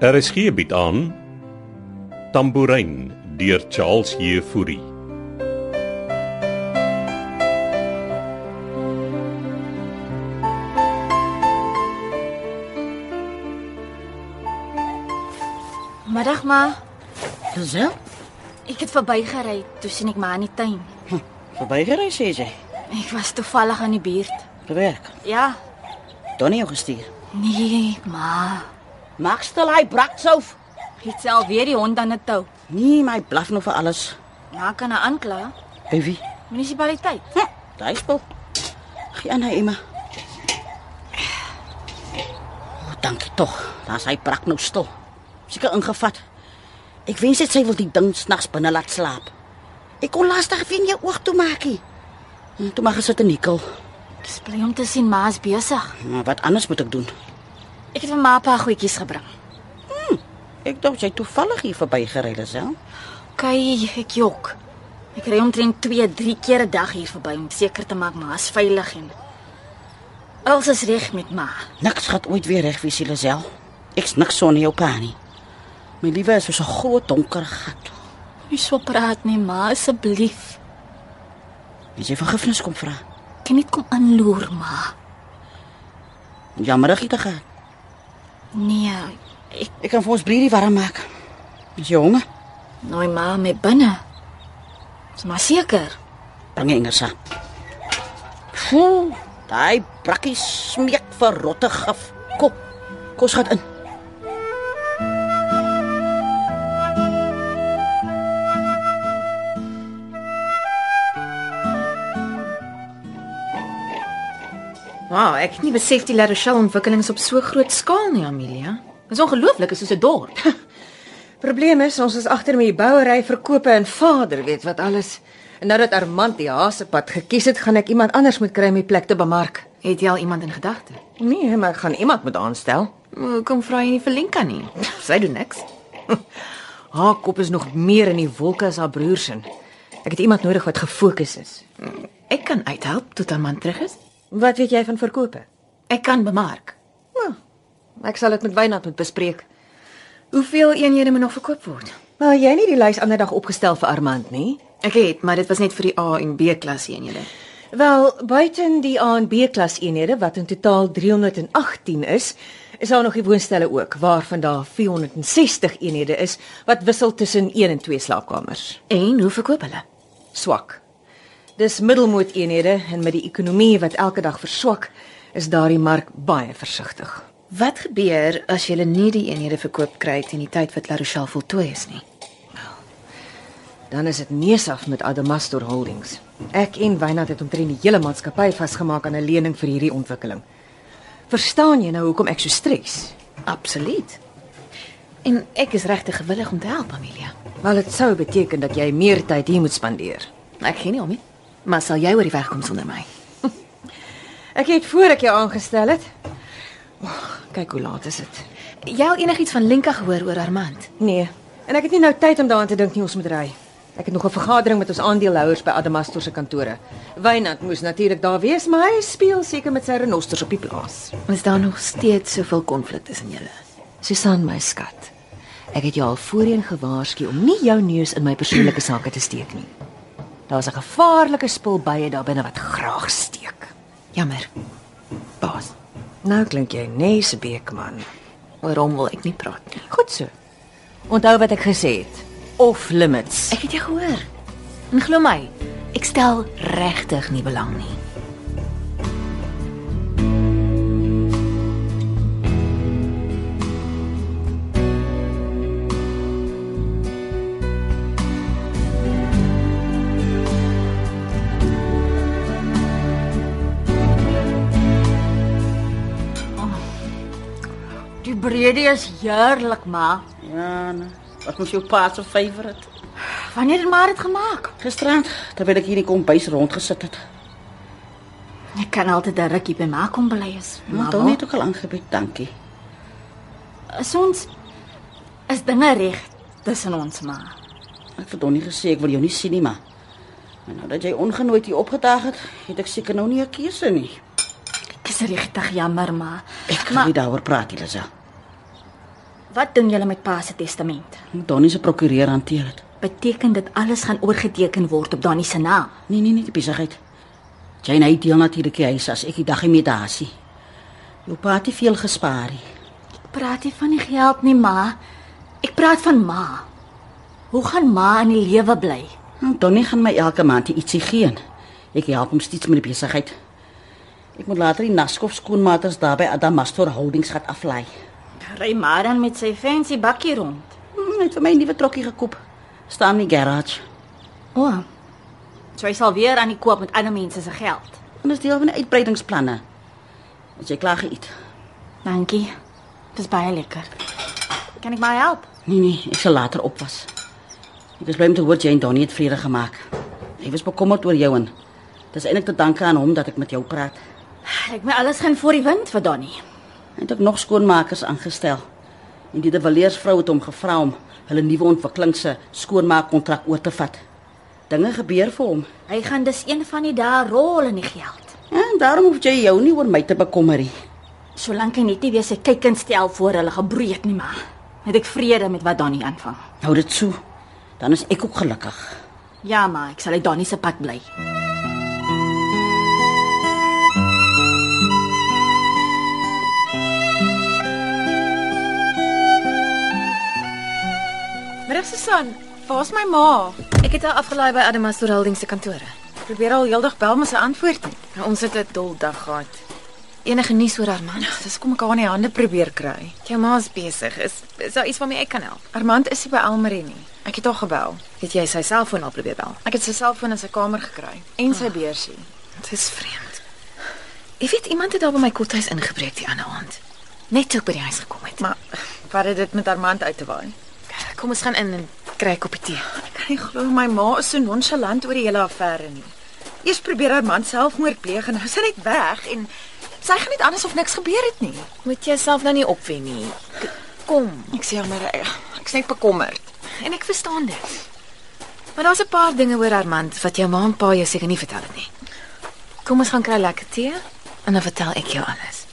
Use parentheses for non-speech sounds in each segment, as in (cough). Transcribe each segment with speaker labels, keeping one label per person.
Speaker 1: RSG bied Er aan Tambourin deur Charles Jefouri.
Speaker 2: Middag ma,
Speaker 3: Gesel?
Speaker 2: ek het verbygery, toe sien ek my in die tuin.
Speaker 3: Verbygery sê jy.
Speaker 2: Ek was toevallig aan die buurt.
Speaker 3: Werk.
Speaker 2: Ja.
Speaker 3: Donnie jou gestuur.
Speaker 2: Nee, ma.
Speaker 3: Maak stil hy braksof.
Speaker 2: Het self weer die hond aan 'n tou.
Speaker 3: Nee, my blaf nou vir alles.
Speaker 2: Ja, kan hy aankla?
Speaker 3: By wie?
Speaker 2: Munisipaliteit.
Speaker 3: Hm, daai spul. Gee aan hy Emma. O, dankie tog. Daar's hy brak nou stil. Seker ingevat. Ek wens dit sy wil die ding snags binne laat slaap. Ek kon laastig vir jou oog toe maakie. Toe maar gesit en nikkel.
Speaker 2: Ek is bly om te sien ma is besig.
Speaker 3: Maar wat anders moet ek doen?
Speaker 2: Ek het vir ma 'n paar goedjies gebring.
Speaker 3: Ek dink jy toevallig hier verbygery het, hè?
Speaker 2: Kyk, ek jok. Ek ry omtrent 2, 3 keer 'n dag hier verby om seker te maak ma is veilig en alles is reg met ma.
Speaker 3: Niks gaat ooit weer reg wees, Lisel. Ek's niks sonder jou pa nie. My liewe is soos 'n groot donker gat.
Speaker 2: Nie so praat nie, ma, asseblief.
Speaker 3: As jy vergifnis kom vra,
Speaker 2: Ek kan nie kom aanloer, ma.
Speaker 3: jammerig dit gaan.
Speaker 2: Nee, ek
Speaker 3: Ek kan vir ons brie warm maak. Is jy honger?
Speaker 2: nooi ma mee binne. Is maar seker.
Speaker 3: Bring enger saam. Foo, daai brakkie smeek vir rotte gif. Kom. Kom ons gaan in.
Speaker 4: Wow, ek het nie besef die La Rochelle ontwikkelings op so groot skaal nie, Amelia. Dit is ongelooflik, is soos 'n dorp.
Speaker 5: (laughs) Probleem is ons is agter met die bouery, verkope en vader weet wat alles. En nou dat Armand die Hasepad gekies het, gaan ek iemand anders moet kry om die plek te bemark.
Speaker 4: Het jy al iemand in gedagte?
Speaker 5: Nee, maar ek gaan iemand moet aanstel.
Speaker 4: Hoekom vra jy nie vir Lenka
Speaker 5: (laughs)
Speaker 4: nie? Sy doen niks.
Speaker 5: Haar kop is nog meer in die wolke as haar broer se. Ek het iemand nodig wat gefokus is.
Speaker 4: Ek kan uithelp tot haar man terug is.
Speaker 5: Wat weet jy van verkope?
Speaker 4: Ek kan bemark.
Speaker 5: Nou, ek sal dit met Wynand moet bespreek.
Speaker 4: Hoeveel eenhede moet nog verkoop word?
Speaker 5: Maar jy het nie die lys ander dag opgestel vir Armand nie?
Speaker 4: Ek het, maar dit was net vir die A en B klas eenhede.
Speaker 5: Wel, buiten die A en B klas eenhede wat in totaal 318 is, is daar nog die woonstelle ook waarvan daar 460 eenhede is wat wissel tussen 1 en 2 slaapkamers.
Speaker 4: En hoe verkoop hulle?
Speaker 5: Swak. Dis middelmoot eenhede en met die ekonomie wat elke dag verswak, is daardie mark baie versigtig.
Speaker 4: Wat gebeur as jy nie die eenhede verkoop kry teen die tyd wat La Rochelle voltooi is nie?
Speaker 5: Dan is dit neusaf met Adamastor Holdings. Ek en Wynand het omtrent die hele maatskappy vasgemaak aan 'n lening vir hierdie ontwikkeling. Verstaan jy nou hoekom ek so stres?
Speaker 4: Absoluut. En ek is regtig gewillig om te help, Amelia.
Speaker 5: Wel dit sou beteken dat jy meer tyd hier moet spandeer.
Speaker 4: Ek gee nie om nie. Maar sal jy oor die weg kom sonder my?
Speaker 5: Ek het voor ek jou aangestel het. Oh, kyk hoe laat is dit.
Speaker 4: Jy al enigiets van Lenka gehoor oor Armand?
Speaker 5: Nee, en ek het nie nou tyd om daaraan te dink nie, ons moet ry. Ek het nog 'n vergadering met ons aandeelhouers by Adamastor se kantore. Wynand moes natuurlik daar wees, maar hy speel seker met sy renosters op die plaas.
Speaker 4: Is daar nog steeds soveel konflik tussen julle?
Speaker 5: Susan, my skat. Ek het jou al voorheen gewaarsku om nie jou neus in my persoonlike sake te steek nie. Daar's 'n gevaarlike spul bye daar binne wat graag steek.
Speaker 4: Jammer. Baas,
Speaker 5: Nou klink jy nee se beekman.
Speaker 4: oor hom wil ek nie praat nie.
Speaker 5: Goed so. Onthou wat ek gesê het. Off limits.
Speaker 4: Ek het jou gehoor. En glo my, ek stel regtig nie belang nie.
Speaker 2: Die breedie is heerlik, ma.
Speaker 3: Ja, nee. wat moes jou pa se favourite?
Speaker 2: Wanneer het maar dit gemaak?
Speaker 3: Gisterand terwyl ek hier in die kombuis rondgesit het.
Speaker 2: Ek kan altyd 'n rukkie by ma kom bly is.
Speaker 3: Maar
Speaker 2: Maar
Speaker 3: dan het ook al aangebied, dankie.
Speaker 2: is ons is dinge reg tussen ons, ma.
Speaker 3: Ek het vir Donnie gesê ek wil jou nie sien nie, maar maar nou dat jy ongenooid hier opgedaag het, het ek seker nou nie 'n keuse nie.
Speaker 2: Ek is regtig jammer, ma.
Speaker 3: Ek kan
Speaker 2: maar
Speaker 3: nie daaroor praat nie, Lisa.
Speaker 2: Wat doen julle met pa se testament?
Speaker 3: Donnie se prokureur hanteer dit.
Speaker 2: Beteken dit alles gaan oorgeteken word op Danny se naam?
Speaker 3: Nee, nee, nee, die besigheid. Jane hy deel natuurlik die huis as ek die dag mee daar is. Jou pa het nie veel gespaar nie.
Speaker 2: Ek praat nie van die geld nie, ma. Ek praat van ma. Hoe gaan ma in die lewe bly?
Speaker 3: Nou, Donnie gaan my elke maand ietsie gee. Ek help hom steeds met die besigheid. Ek moet later die Naskov skoonmaters daar by Adamastor Holdings gaan aflaai.
Speaker 2: Ry maar dan met sy fancy bakkie rond.
Speaker 3: Hm, Hy het vir my 'n nuwe trokkie gekoop. Staan in die garage.
Speaker 2: O. Oh, so hy sal weer aan die koop met ander mense se geld.
Speaker 3: En dis deel van die uitbreidingsplanne. As jy klaar geëet.
Speaker 2: Dankie. Dis baie lekker. Kan ek my help?
Speaker 3: Nee nee, ek sal later opwas. Ek is bly om te hoor jy en Donnie het vrede gemaak. Hy was bekommerd oor jou en dis eintlik te danke aan hom dat ek met jou praat.
Speaker 2: Ek my alles gaan voor die wind vir Donnie.
Speaker 3: Hy het ook nog skoonmakers aangestel. En die De Villiers vrou het hom gevra om hulle nuwe ontwikkeling se skoonmaakkontrak oor te vat. Dinge gebeur vir hom. Ja,
Speaker 2: Hy gaan dus een van die dae rol in die geld.
Speaker 3: En daarom hoef jy jou nie oor my te bekommer nie.
Speaker 2: Solank hy net nie weer sy kykinstel voor hulle gebreek nie, maar het ek vrede met wat Donnie aanvang.
Speaker 3: Hou dit so. Dan is ek ook gelukkig.
Speaker 2: Ja, maar ek sal uit Donnie se pad bly.
Speaker 4: Middag Susan, waar's my ma? Ek het haar afgelaai by Adamastor Holdings se kantore. Probeer al heeldag bel maar sy antwoord nie. Nou, Ons het 'n dol dag gehad. Ja, Enige nuus oor haar man?
Speaker 6: Dis kom ek haar in die hande probeer kry.
Speaker 4: Jou ma's besig. Ja, Is is daar iets waarmee ek kan help?
Speaker 6: Armand is nie by Elmarie nie. Ek het haar gebel.
Speaker 4: Het jy sy selfoon al probeer bel?
Speaker 6: Ek het sy selfoon in sy kamer gekry en
Speaker 5: Ah.
Speaker 6: sy beursie.
Speaker 4: Dit is vreemd. Ek weet iemand het daar by my kothuis ingebreek die ander aand. Net toe ek by die huis gekom het.
Speaker 6: Maar wat het dit met Armand uit te waai?
Speaker 4: Kom ons gaan in en kry 'n koppie tee.
Speaker 6: Ek kan nie glo my ma is so nonchalant oor die hele affære nie. Eers probeer Armand selfmoord pleeg en nou is hy net weg en sy gaan net anders of niks gebeur het nie.
Speaker 4: Moet jouself nou nie opwen nie. K- Kom.
Speaker 6: Ek sê maar
Speaker 4: eh,
Speaker 6: ek's net bekommerd.
Speaker 4: En ek verstaan dit. Maar daar's 'n paar dinge oor Armand wat jou ma en pa jou seker nie vertel het nie. Kom ons gaan kry lekker tee en dan vertel ek jou alles.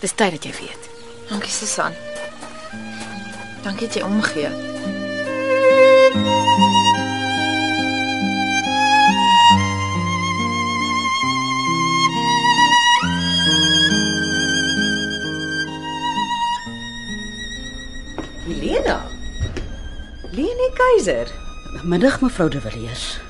Speaker 4: Dis tyd dat jy weet.
Speaker 6: Dankie Susan. Dankie dat jy omgee.
Speaker 5: Helena. Leni Keiser.
Speaker 3: Middag mevrou De Villiers.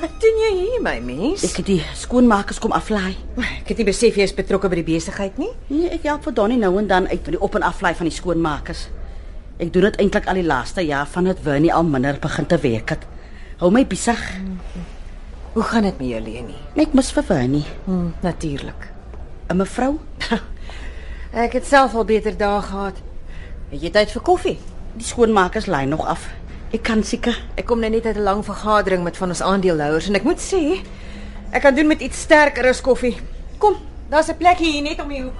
Speaker 5: Wat doen jy hier, my mens?
Speaker 3: Ek het die skoonmakers kom aflaai.
Speaker 5: Ek het nie besef jy is betrokke by die besigheid nie.
Speaker 3: Nee, ek help vir Donnie nou en dan uit met die op en aflaai van die skoonmakers. Ek doen dit eintlik al die laaste jaar van dit Winnie al minder begin te werk het. Hou my besig.
Speaker 5: Hoe gaan dit met jou, Leni?
Speaker 3: Ek mis vir Winnie.
Speaker 5: Hm, natuurlik.
Speaker 3: 'n Mevrou?
Speaker 5: Ek het self al beter dae gehad. Het jy tyd vir koffie?
Speaker 3: Die skoonmakers lei nog af. Ek kan seker.
Speaker 5: Ek kom nou net uit 'n lang vergadering met van ons aandeelhouers en ek moet sê, ek kan doen met iets sterker as koffie. Kom, daar's 'n plekkie hier net om die hoek.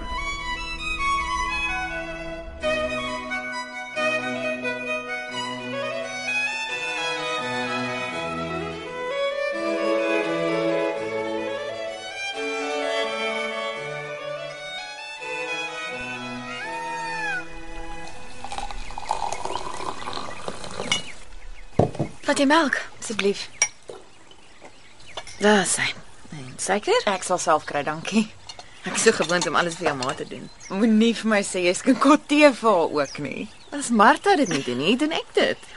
Speaker 4: Wat jy melk asseblief. Daar sien. Nee, seker?
Speaker 6: Ek sal self kry, dankie.
Speaker 4: Ek is so gewoond om alles vir jou ma te doen.
Speaker 6: Moenie vir my sê jy skink kort tee vir haar ook nie.
Speaker 4: As Martha dit nie doen nie, doen ek (laughs) dit.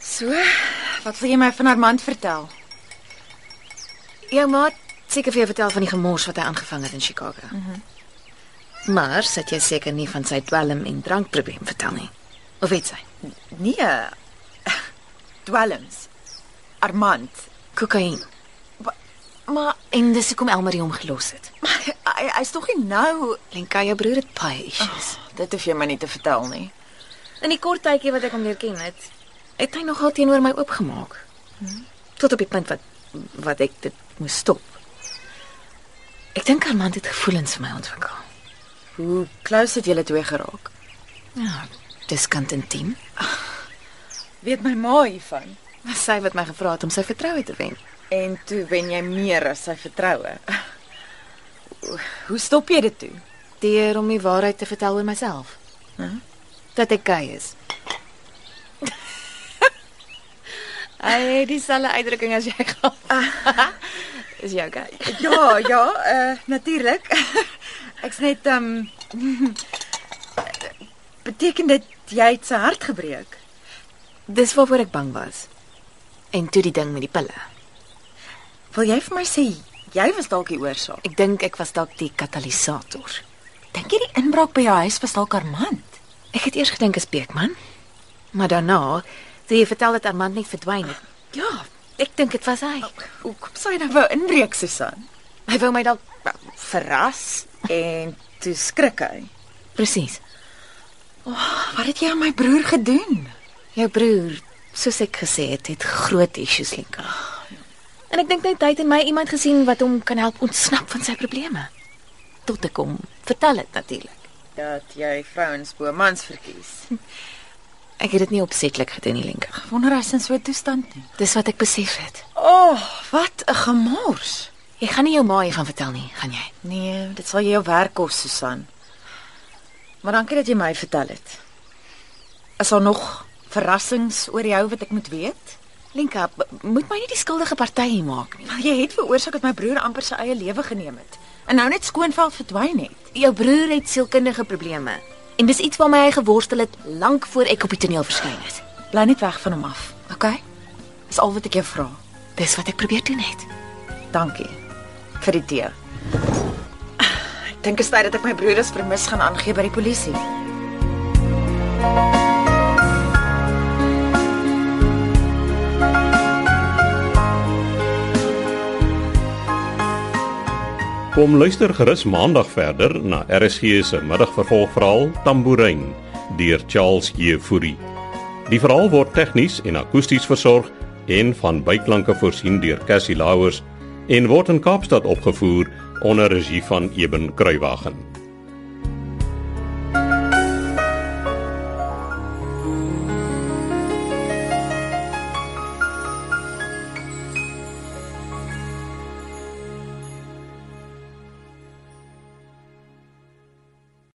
Speaker 6: So, wat wil jy my van Armand vertel?
Speaker 4: Jou ma het seker vir jou vertel van die gemors wat hy aangevang het in Chicago. Mm -hmm. Maar sit jy seker nie van sy dwelm en drankprobleem vertel nie. Of weet sy?
Speaker 6: Nee. Dwelms. Armand.
Speaker 4: Kokain.
Speaker 6: Maar
Speaker 4: En dis hoekom Elmarie hom gelos het.
Speaker 6: maar hy hy's tog nie nou.
Speaker 4: Lenka, jou broer het baie issues. Oh.
Speaker 6: Dit hoef jy my nie te vertel nie.
Speaker 4: In die kort tydjie wat ek hom leer ken het, het hy nogal teenoor my oopgemaak. Hmm. Tot op die punt wat wat ek dit moes stop. Ek dink Armand het gevoelens vir my ontwikkel.
Speaker 6: Hoe close het julle twee geraak?
Speaker 4: Ja, dis kant intiem.
Speaker 6: Weet my ma hiervan.
Speaker 4: Was sy wat my gevra het om sy vertroue te wen.
Speaker 6: En toe wen jy meer as sy vertroue. Hoe stop jy dit toe?
Speaker 4: Deur om die waarheid te vertel oor myself. dat ek gay is. Ai, dis al 'n uitdrukking as jy gaan. is jy gay?
Speaker 5: Ja, ja, uh natuurlik. (laughs) Ek's net um (laughs) beteken dit jy het sy hart gebreek?
Speaker 4: Dis waarvoor ek bang was. En toe die ding met die pille.
Speaker 5: Wil jy vir my sê jy was dalk die oorsaak?
Speaker 4: Ek dink ek was dalk die katalisator.
Speaker 5: Dink jy die inbraak by jou huis was dalk Armand?
Speaker 4: Ek het eers gedink is Beekman. Maar daarna, toe jy vertel dat Armand net verdwyn het,
Speaker 5: Ja.
Speaker 4: ek dink dit was hy.
Speaker 5: Hoe kom sy nou wou inbreek, Susan?
Speaker 4: Hy wou my dalk
Speaker 5: Verras en toe skrik hy.
Speaker 4: presies.
Speaker 5: Oh, Wat het jy aan my broer gedoen?
Speaker 4: Jou broer, soos ek gesê het, het groot issues linka. En ek dink net hy het in my iemand gesien wat hom kan help ontsnap van sy probleme. Tot ek hom vertel het natuurlik.
Speaker 5: Dat jy vrouens bo mans verkies.
Speaker 4: Ek het dit nie opsetlik gedoen nie, Linka.
Speaker 5: Wonder hy's in so 'n toestand nie.
Speaker 4: Dis wat ek besef het.
Speaker 5: O, oh, wat 'n gemors.
Speaker 4: Jy gaan nie jou ma hiervan vertel nie, gaan jy?
Speaker 5: Nee, dit sal jou werk kos, Susan. Maar dankie dat jy my vertel het. Is daar nog verrassings oor jou wat ek moet weet?
Speaker 4: Linka, b- moet my nie die skuldige party maak nie.
Speaker 5: Maar jy het veroorsaak dat my broer amper sy eie lewe geneem het en nou net skoonveld verdwyn het.
Speaker 4: Jou broer het sielkundige probleme en dis iets waarmee hy geworstel het lank voor ek op die toneel verskyn het.
Speaker 5: Bly net weg van hom af.
Speaker 4: OK?
Speaker 5: Dis al wat ek jou vra.
Speaker 4: Dis wat ek probeer doen het.
Speaker 5: Dankie vir die tee. Ah, Ek dink dit is tyd dat ek my broer as vermis gaan aangee by die polisie.
Speaker 1: Kom luister gerus maandag verder na RSG se middagvervolgverhaal Tambourine deur Charles Jefouri. Die verhaal word tegnies en akoesties versorg en van byklanke voorsien deur Cassie Lauers en word in Kaapstad opgevoer onder regie van Eben Kruiwagen.